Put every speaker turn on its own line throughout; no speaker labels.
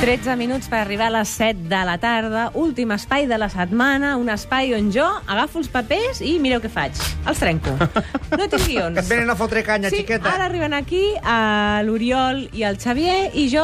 13 minuts per arribar a les 7 de la tarda, últim espai de la setmana, un espai on jo agafo els papers i mireu què faig. Els trenco. No tinc guions.
Venen a fotre canya,
sí,
xiqueta.
ara arriben aquí a l'Oriol i el Xavier i jo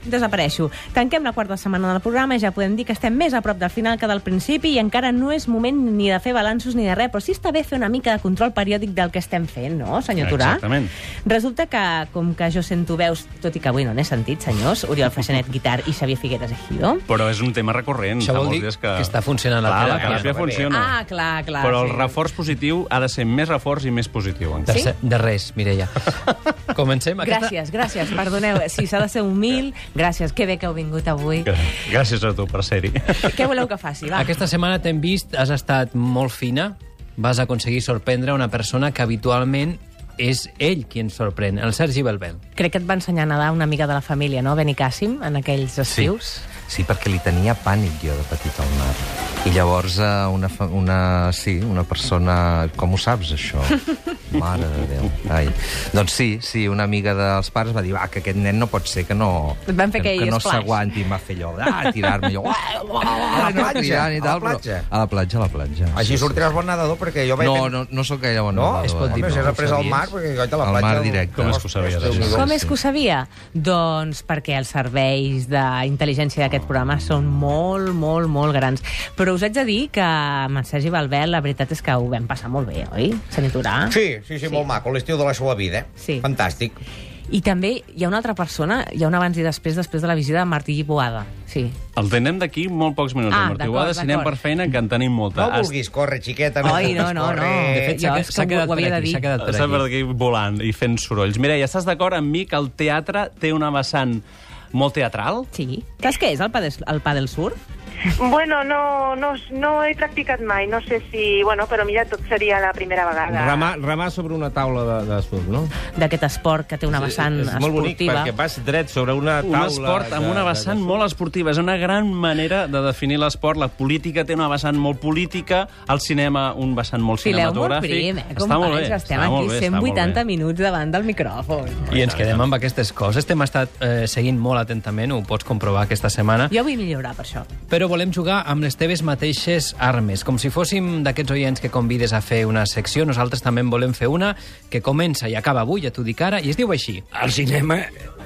desapareixo. Tanquem la quarta setmana del programa i ja podem dir que estem més a prop del final que del principi i encara no és moment ni de fer balanços ni de res, però sí està bé fer una mica de control periòdic del que estem fent, no, senyor Turà?
Exactament.
Resulta que, com que jo sento veus, tot i que avui no n'he sentit, senyors, Oriol Freixenet, guitar i Xavier Figueres, oh? Ejido...
Però és un tema recurrent.
Això
Fa
vol
molts
dir
dies
que està funcionant la
Clar, la
teràpia.
teràpia funciona.
Ah, clar, clar.
Però el
sí.
reforç positiu ha de ser més reforç i més positiu. encara.
De,
Sí?
sí? de res, Mireia. Comencem.
Gràcies, gràcies, perdoneu. Sí, s'ha de ser humil. Gràcies, que bé que heu vingut avui.
Gràcies a tu per ser-hi.
Què voleu que faci, va?
Aquesta setmana t'hem vist, has estat molt fina, vas aconseguir sorprendre una persona que habitualment és ell qui ens sorprèn, el Sergi Belbel.
Crec que et va ensenyar a nedar una amiga de la família, no? Benicàssim, en aquells estius.
Sí, perquè li tenia pànic jo de petit al mar. I llavors eh, una, fa- una, sí, una persona... Com ho saps, això? Mare de Déu. Ai. Doncs sí, sí, una amiga dels pares va dir va, que aquest nen no pot ser que no...
Et van fer
que,
aquell
que no
splash.
s'aguanti. Em va fer allò, ah, tirar-me. Jo, ah, a la
platja,
i
a la
tal, però-
platja.
A la platja, a la platja.
Així
Sí, sí.
sortiràs bon nedador, perquè jo vaig...
No, no, no sóc gaire bon
No?
nedador,
Es pot dir,
eh?
però si has
No,
après
ho
al
sabies?
mar, perquè goita, la
Al
platja-
mar directe.
Com és que ho sabies,
Ostres,
això?
Déu-n'hi-do.
Com és que ho sabia? Doncs perquè els serveis d'intel·ligència d'aquest programa són molt, molt, molt grans. Però us haig de dir que amb en Sergi Balbel la veritat és que ho vam passar molt bé, oi? Senyor Turà?
Sí, sí, sí, molt maco, l'estiu de la seva vida. eh?
Sí.
Fantàstic.
I també hi ha una altra persona, hi ha un abans i després, després de la visita de Martí Boada. Sí.
El tenem d'aquí molt pocs minuts.
Ah,
el Martí
d'acord,
Boada, si anem per
d'acord.
feina, que en tenim molta.
No vulguis córrer, xiqueta, no
Oi, no,
vulguis
no, no.
córrer.
De fet,
Eh, jo
s'ha
és
que-
que
s'ha
ho-
quedat
ho havia
per
de
aquí,
dir.
s'ha quedat per
Està per
aquí.
aquí volant i fent sorolls. Mireia, estàs d'acord amb mi que el teatre té una vessant molt teatral?
Sí. Saps què és el pa, de, el pa del surf?
Bueno, no, no, no he practicat mai, no sé si... Bueno, però mira, tot seria la primera vegada.
Remar, remar sobre una taula de, de surf, no?
D'aquest esport que té una vessant
és, és molt bonic,
esportiva.
perquè vas dret sobre una
Un
taula...
esport amb una vessant molt esportiva. És una gran manera de definir l'esport. La política té una vessant molt política, el cinema un vessant molt
Fileu molt
cinematogràfic.
prim, eh,
està molt
companys,
bé.
estem
està
aquí
molt bé, està molt
180
bé.
minuts davant del micròfon.
I ens quedem amb aquestes coses. T'hem estat eh, seguint molt atentament, ho pots comprovar aquesta setmana.
Jo vull millorar per això.
Però volem jugar amb les teves mateixes armes. Com si fóssim d'aquests oients que convides a fer una secció, nosaltres també en volem fer una que comença i acaba avui, ja t'ho dic ara, i es diu així.
El cinema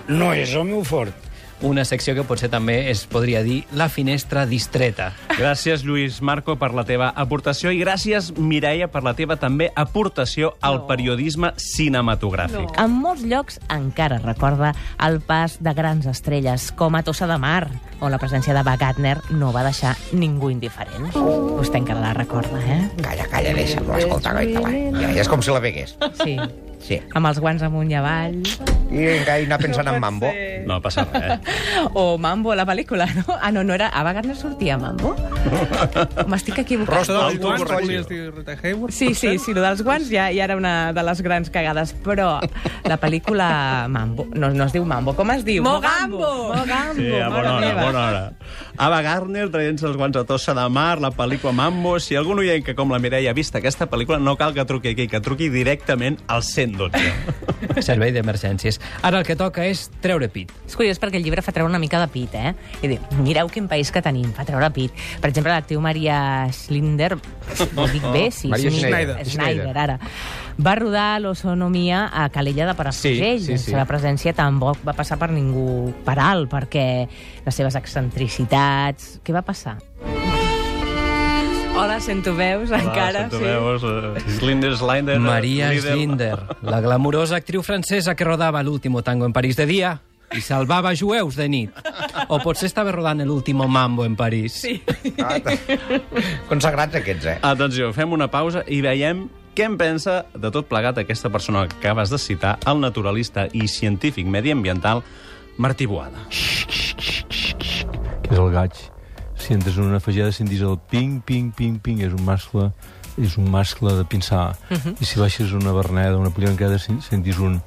no és el meu fort.
Una secció que potser també es podria dir la finestra distreta.
Gràcies, Lluís Marco, per la teva aportació i gràcies, Mireia, per la teva també aportació al periodisme cinematogràfic.
En molts llocs encara recorda el pas de grans estrelles, com a Tossa de Mar, on la presència de Bagatner no va deixar ningú indiferent. Vostè encara la recorda, eh?
Calla, calla, deixa'm-lo, escolta, goita, va. Ja, ja és com si la vegués.
Sí.
Sí.
Amb els guants amunt i avall.
I encara hi anar pensant en Mambo.
No passa res. eh?
O Mambo, la pel·lícula, no? Ah, no, no era... A Bagatner sortia Mambo? M'estic equivocant.
dels guants, volies
Sí, sí, sí, lo dels guants ja, ja era una de les grans cagades, però la pel·lícula Mambo, no, no es diu Mambo, com es diu? Mogambo! Mogambo,
Sí, a
mare
bona hora,
meva.
a bona hora. Ava Gardner traient-se els guants a tossa de mar, la pel·lícula Mambo... Si algun oient que com la Mireia ha vist aquesta pel·lícula, no cal que truqui aquí, que truqui directament al 112.
Servei d'emergències. Ara el que toca és treure pit.
És curiós perquè el llibre fa treure una mica de pit, eh? I diu, mireu quin país que tenim, fa treure pit. Per exemple, l'actriu Maria Schlinder, ho dic bé, sí,
Maria
sí,
Schneider.
Schneider, ara, va rodar l'Osonomia a Calella de Palafrugell.
Sí, sí, sí.
La seva presència tampoc va passar per ningú per alt, perquè les seves excentricitats... Què va passar? Hola, sento veus, encara,
sento
sí.
veus, eh, Slinder, Slinder... eh,
Maria
Lidl.
Slinder, la glamurosa actriu francesa que rodava l'último tango en París de dia i salvava jueus de nit. O potser estava rodant l'último mambo en París. Sí.
Ah, Consagrats aquests, eh?
Atenció, fem una pausa i veiem què en pensa de tot plegat aquesta persona que acabes de citar, el naturalista i científic mediambiental Martí Boada.
que és el gaig. Si entres en una fageda sentis el ping, ping, ping, ping, és un mascle és un mascle de pinçar. Uh
Mhm.
-huh. I si baixes una berneda, una pollancada, sen- sentis un...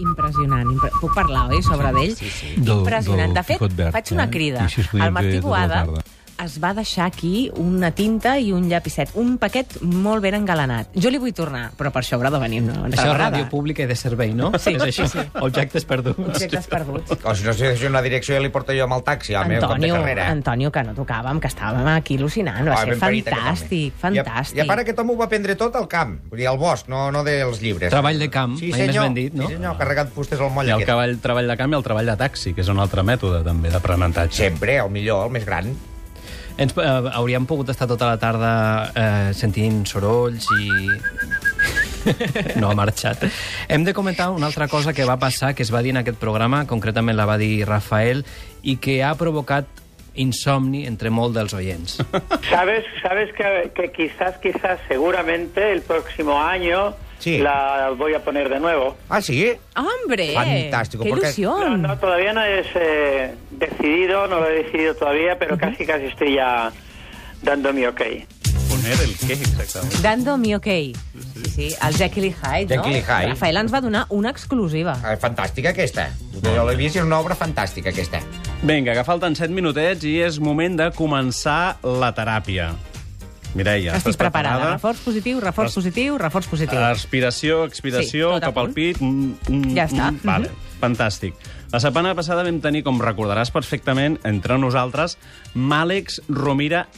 Impressionant. Impre... Puc parlar, oi, sobre d'ell?
Del-
Impressionant.
del
de fet,
Picot Verd,
faig una
eh?
crida.
I així es podien
El Martí
fer tota la
Boada
tarda.
es va deixar aquí una tinta i un llapisset, un paquet molt ben engalanat. Jo li vull tornar, però per això haurà de venir una altra
Això és
vegada.
ràdio pública i de servei, no?
Sí,
és això.
sí, sí.
Objectes perduts.
Objectes perduts.
O si no sé si una direcció ja li porto jo amb el taxi, home, en compte
Antonio,
carrera. eh.
Antonio, que no tocàvem, que estàvem aquí al·lucinant. Va
Ah,
ser
ben parit, aquest
fantàstic,
home.
fantàstic.
I, a- I a part aquest home ho va prendre tot al camp, vull dir, al bosc, no, no dels llibres.
Treball de camp,
sí,
Mm? mai més
senyor.
ben dit, no?
Sí, senyor, carregat fustes al
Hi
moll
ha el
aquest.
cavall treball de camp i el treball de taxi, que és un altre mètode, també, d'aprenentatge.
Sempre, el millor, el més gran.
Ens, eh, hauríem pogut estar tota la tarda eh, sentint sorolls i... No ha marxat. Hem de comentar una altra cosa que va passar, que es va dir en aquest programa, concretament la va dir Rafael, i que ha provocat insomni entre molt dels oients.
Sabes, sabes que, que quizás, quizás, seguramente el próximo año
Sí.
la voy a poner de nuevo.
Ah, sí?
Hombre,
Fantástico,
qué
porque-
No,
ilusión.
no, todavía no es eh, decidido, no lo he decidido todavía, pero casi, casi estoy ya dando mi ok.
Poner el què, exactament.
Dando mi ok. Sí, sí, el Jekyll i Hyde, no?
Jekyll i Hyde.
Rafael ens va donar una exclusiva.
Ah, Fantàstica, aquesta. Jo l'he vist, és una obra fantàstica, aquesta.
Ah.
Vinga, que falten 7 minutets i és moment de començar la teràpia. Mireia,
Estic
estàs
preparada.
preparada?
Reforç positiu, reforç positiu, reforç positiu.
Respiració, expiració,
Sí, tot a
cap al
punt.
pit... Mm, mm,
Ja està.
mm, Vale, fantàstic. La setmana passada vam tenir, com recordaràs perfectament, entre nosaltres, Màlex Romira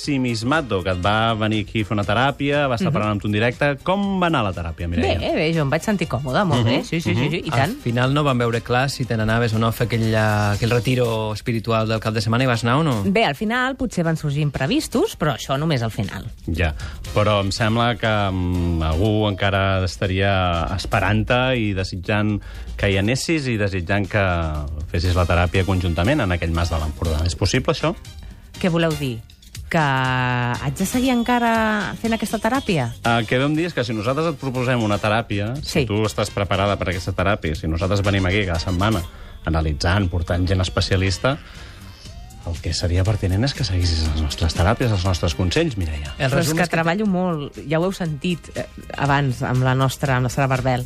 ensimismato, que et va venir aquí a fer una teràpia, va estar parlant amb tu en directe. Com va anar la teràpia,
Bé,
Mireia?
bé, jo em vaig sentir còmoda, molt bé. Sí, sí, sí, sí, i
Al
tant.
final no van veure clar si te n'anaves o no a fer aquell, eh, aquell retiro espiritual del cap de setmana i vas anar o no?
Bé, al final potser van sorgir imprevistos, però això només al final.
Ja, però em sembla que mm, algú encara estaria esperant-te i desitjant que hi anessis i desitjant que fessis la teràpia conjuntament en aquell mas de l'Empordà. És possible, això?
Què voleu dir? Que haig de seguir encara fent aquesta teràpia?
El que Eh, vam dir és que si nosaltres et proposem una teràpia,
Sí.
si tu estàs preparada per aquesta teràpia, si nosaltres venim aquí cada setmana analitzant, portant gent especialista, el que seria pertinent és que seguissis les nostres teràpies, els nostres consells, Mireia.
Però
El
és
resum
que
és que
treballo molt, ja ho heu sentit eh, abans amb la nostra, amb la Sara Barbel.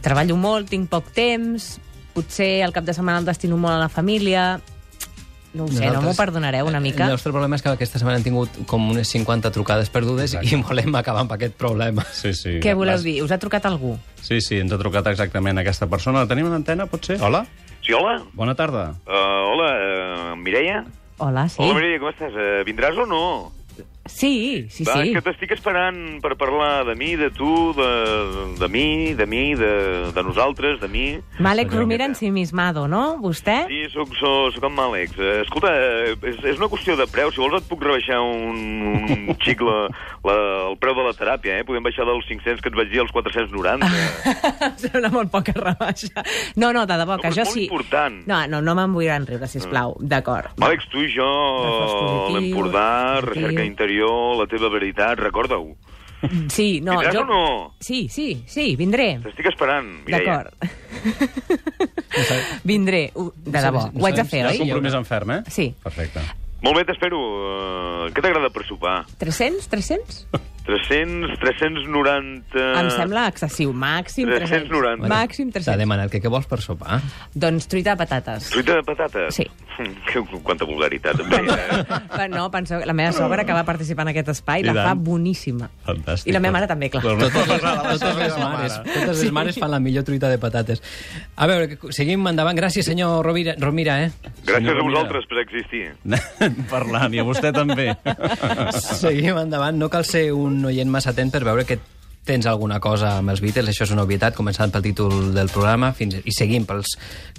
Treballo molt, tinc poc temps, potser el cap de setmana el destino molt a la família... Eh, No ho sé, no m'ho
Nosaltres- eh,
perdonareu una mica?
El nostre problema és que aquesta setmana hem tingut com unes 50 trucades perdudes i volem acabar amb aquest problema.
Sí, sí.
Què voleu
Vas-
dir? Us ha trucat algú?
Sí, sí, ens ha trucat exactament aquesta persona. La tenim a l'antena, potser? Hola?
Sí, hola.
Bona tarda.
Uh, hola, uh, Mireia.
Hola, sí?
Hola, Mireia, com estàs? Uh, vindràs o no?
Sí, sí,
Va,
sí.
que t'estic esperant per parlar de mi, de tu, de, de mi, de mi, de, de nosaltres, de mi.
Malek
Senyor.
Romira ensimismado, no? Vostè?
Sí, sóc, sóc, sóc en Màlex. Eh, Escolta, eh, és, és una qüestió de preu. Si vols et puc rebaixar un, un xic la, la, el preu de la teràpia, eh? Podem baixar dels 500 que et vaig dir als
Ah.
490.
Em sembla molt poca rebaixa. No, no, de debò, que
No, però és
jo
molt
sí...
important. Ah.
No, no, no me'n vull enriure, sisplau. D'acord.
Màlex, tu i jo,
Reforç positiu,
l'Empordà,
reforç positiu.
recerca interior, la teva veritat, recorda-ho.
Sí, no,
Vindràs
jo...
o no?
Sí, sí, sí, vindré.
T'estic esperant, Mireia.
D'acord. Vindré, ho- de
No sé,
debò.
no
Ho haig de
sé,
fer,
no
Hi ha
sí,
oi?
compromís en ferm, eh?
Sí.
Perfecte.
Molt bé, t'espero. Uh, què t'agrada per sopar?
300? 300?
300, 390...
Em sembla excessiu. Màxim 300.
390.
Màxim
T'ha
300.
demanat que què vols per sopar?
Doncs truita de patates.
Fruita de patata?
Sí.
Que, quanta vulgaritat, també. eh?
Va, No, penseu, que la meva sogra que va participar en aquest espai
I
la fa
tant.
boníssima.
Fantàstic.
I la meva mare també, clar.
Totes
Totes les mares, totes les mares fan la millor truita de patates. A veure, que- seguim endavant. Gràcies, senyor Rovira, Romira, eh?
Gràcies
Senyor
a
Rovira.
vosaltres per existir.
Parlant, i a vostè també.
Seguim endavant. No cal ser un oient massa atent per veure que tens alguna cosa amb els Beatles, això és una obvietat, començant pel títol del programa fins i seguim pels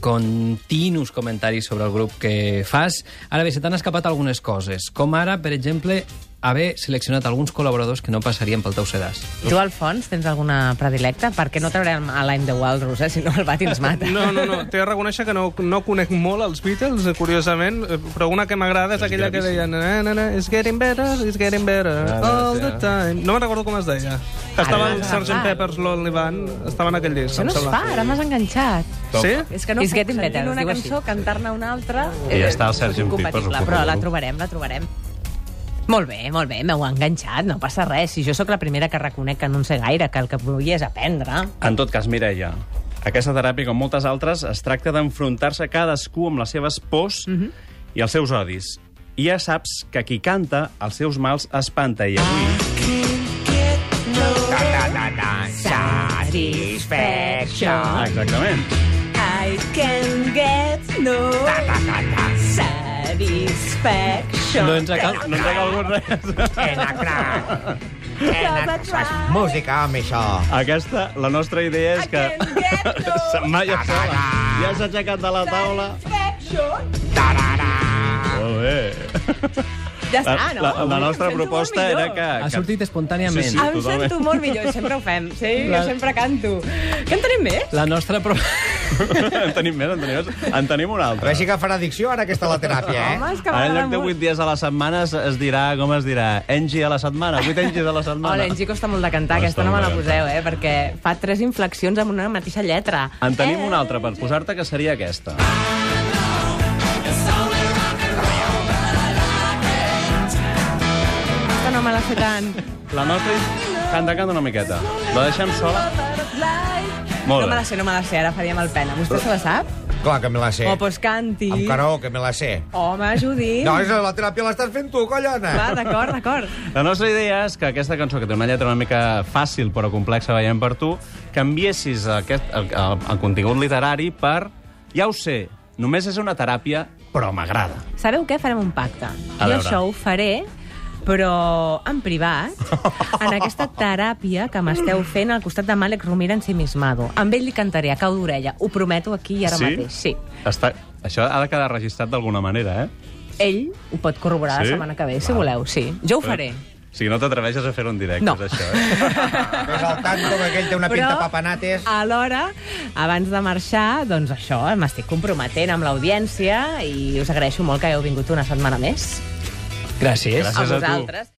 continus comentaris sobre el grup que fas. Ara bé, se t'han escapat algunes coses, com ara, per exemple, haver seleccionat alguns col·laboradors que no passarien pel teu sedàs.
Tu, Alfons, tens alguna predilecta? Perquè no traurem a l'any de Waldros, eh? Si no, el Bati ens mata.
No, no, no. T'he de reconèixer que no, no conec molt els Beatles, curiosament, eh, però una que m'agrada és aquella que deia na, na, na, It's getting better, it's getting better all the time. No me'n recordo com es deia. Que estava
Ah, eh? Ara
el
m'has
Sgt.
agafat.
Pepper's Lonely Band, estava en aquell disc,
Això
em
no es
sembla.
fa, ara m'has enganxat.
Sí?
És que no It's getting better, una cançó, cantar-ne una altra...
I ja està el Sergi en
incompatible,
Pipes, ho
Però la
recordo.
trobarem, la trobarem. Molt bé, molt bé, m'heu enganxat, no passa res. Si jo sóc la primera que reconec que no en sé gaire, que el que vull és aprendre.
En tot cas, Mireia, aquesta teràpia, com
Mhm.
moltes altres, es tracta d'enfrontar-se cadascú amb les seves pors i els seus odis. I ja saps que qui canta els seus mals espanta. I avui...
Satisfaction.
Exactament.
I can get no satisfaction.
No ens acaba,
no ens acaba res.
Música, home, això.
Aquesta, la nostra idea és que... Mai ja sola.
Ah!
Ja s'ha aixecat de la taula. Molt bé.
Ja està, Ah, no?
La, la, la
Em
nostra
sento molt
proposta
millor.
era que...
Ha
que...
sortit espontàniament.
Sí, sí.
Em
totalment.
sento molt millor, i sempre ho fem. Sí,
La-
jo sempre canto. Cantarem més?
La nostra... Pro...
en tenim més, en tenim, més. en tenim una
A
altra.
veure si agafarà addicció ara aquesta la teràpia, eh?
Home, és que
Ara, en
m'agrada
lloc de
molt.
8 dies a la setmana, es- es dirà, com es dirà? Engi a la setmana, 8 engis a la
Oh,
setmana.
l'Engi costa molt de cantar,
Costa
aquesta no me la
molt de
poseu, eh? Perquè fa tres inflexions amb una mateixa lletra.
En tenim
Eh?
una altra per posar-te, que seria aquesta.
Aquesta no me la sé tant.
La nostra... Canta, canta una miqueta. La deixem sola. Molt
no me
bé.
la sé, no me la sé, ara faríem el pena. Vostè se la sap?
Clar que me la sé.
Oh, pues canti.
Amb caró, que me la sé.
Home, Judit.
No, és la teràpia l'estàs fent tu, collona.
Va, d'acord, d'acord.
La nostra idea és que aquesta cançó, que té una lletra una mica fàcil però complexa, veiem per tu, canviessis aquest, el, el, el contingut literari per... Ja ho sé, només és una teràpia, però m'agrada.
Sabeu què? Farem un pacte.
A
Jo
veure.
això ho faré, però en privat, en aquesta teràpia que m'esteu fent al costat de Màlec Romira ensimismado. Amb ell li cantaré a cau d'orella. Ho prometo aquí i ara
Sí?
mateix. Sí.
Està... Això ha de quedar registrat d'alguna manera, eh?
Ell ho pot corroborar
Sí?
la setmana que ve, si voleu. Sí, jo ho faré.
O sigui, no t'atreveixes a fer un directe,
No.
és això, eh?
No és el tanto que aquell té una pinta
Però-
papanates.
Alhora, abans de marxar, doncs això, eh, m'estic comprometent amb l'audiència i us agraeixo molt que heu vingut una setmana més.
Gràcies.
a
Gràcies a tu.
vosaltres.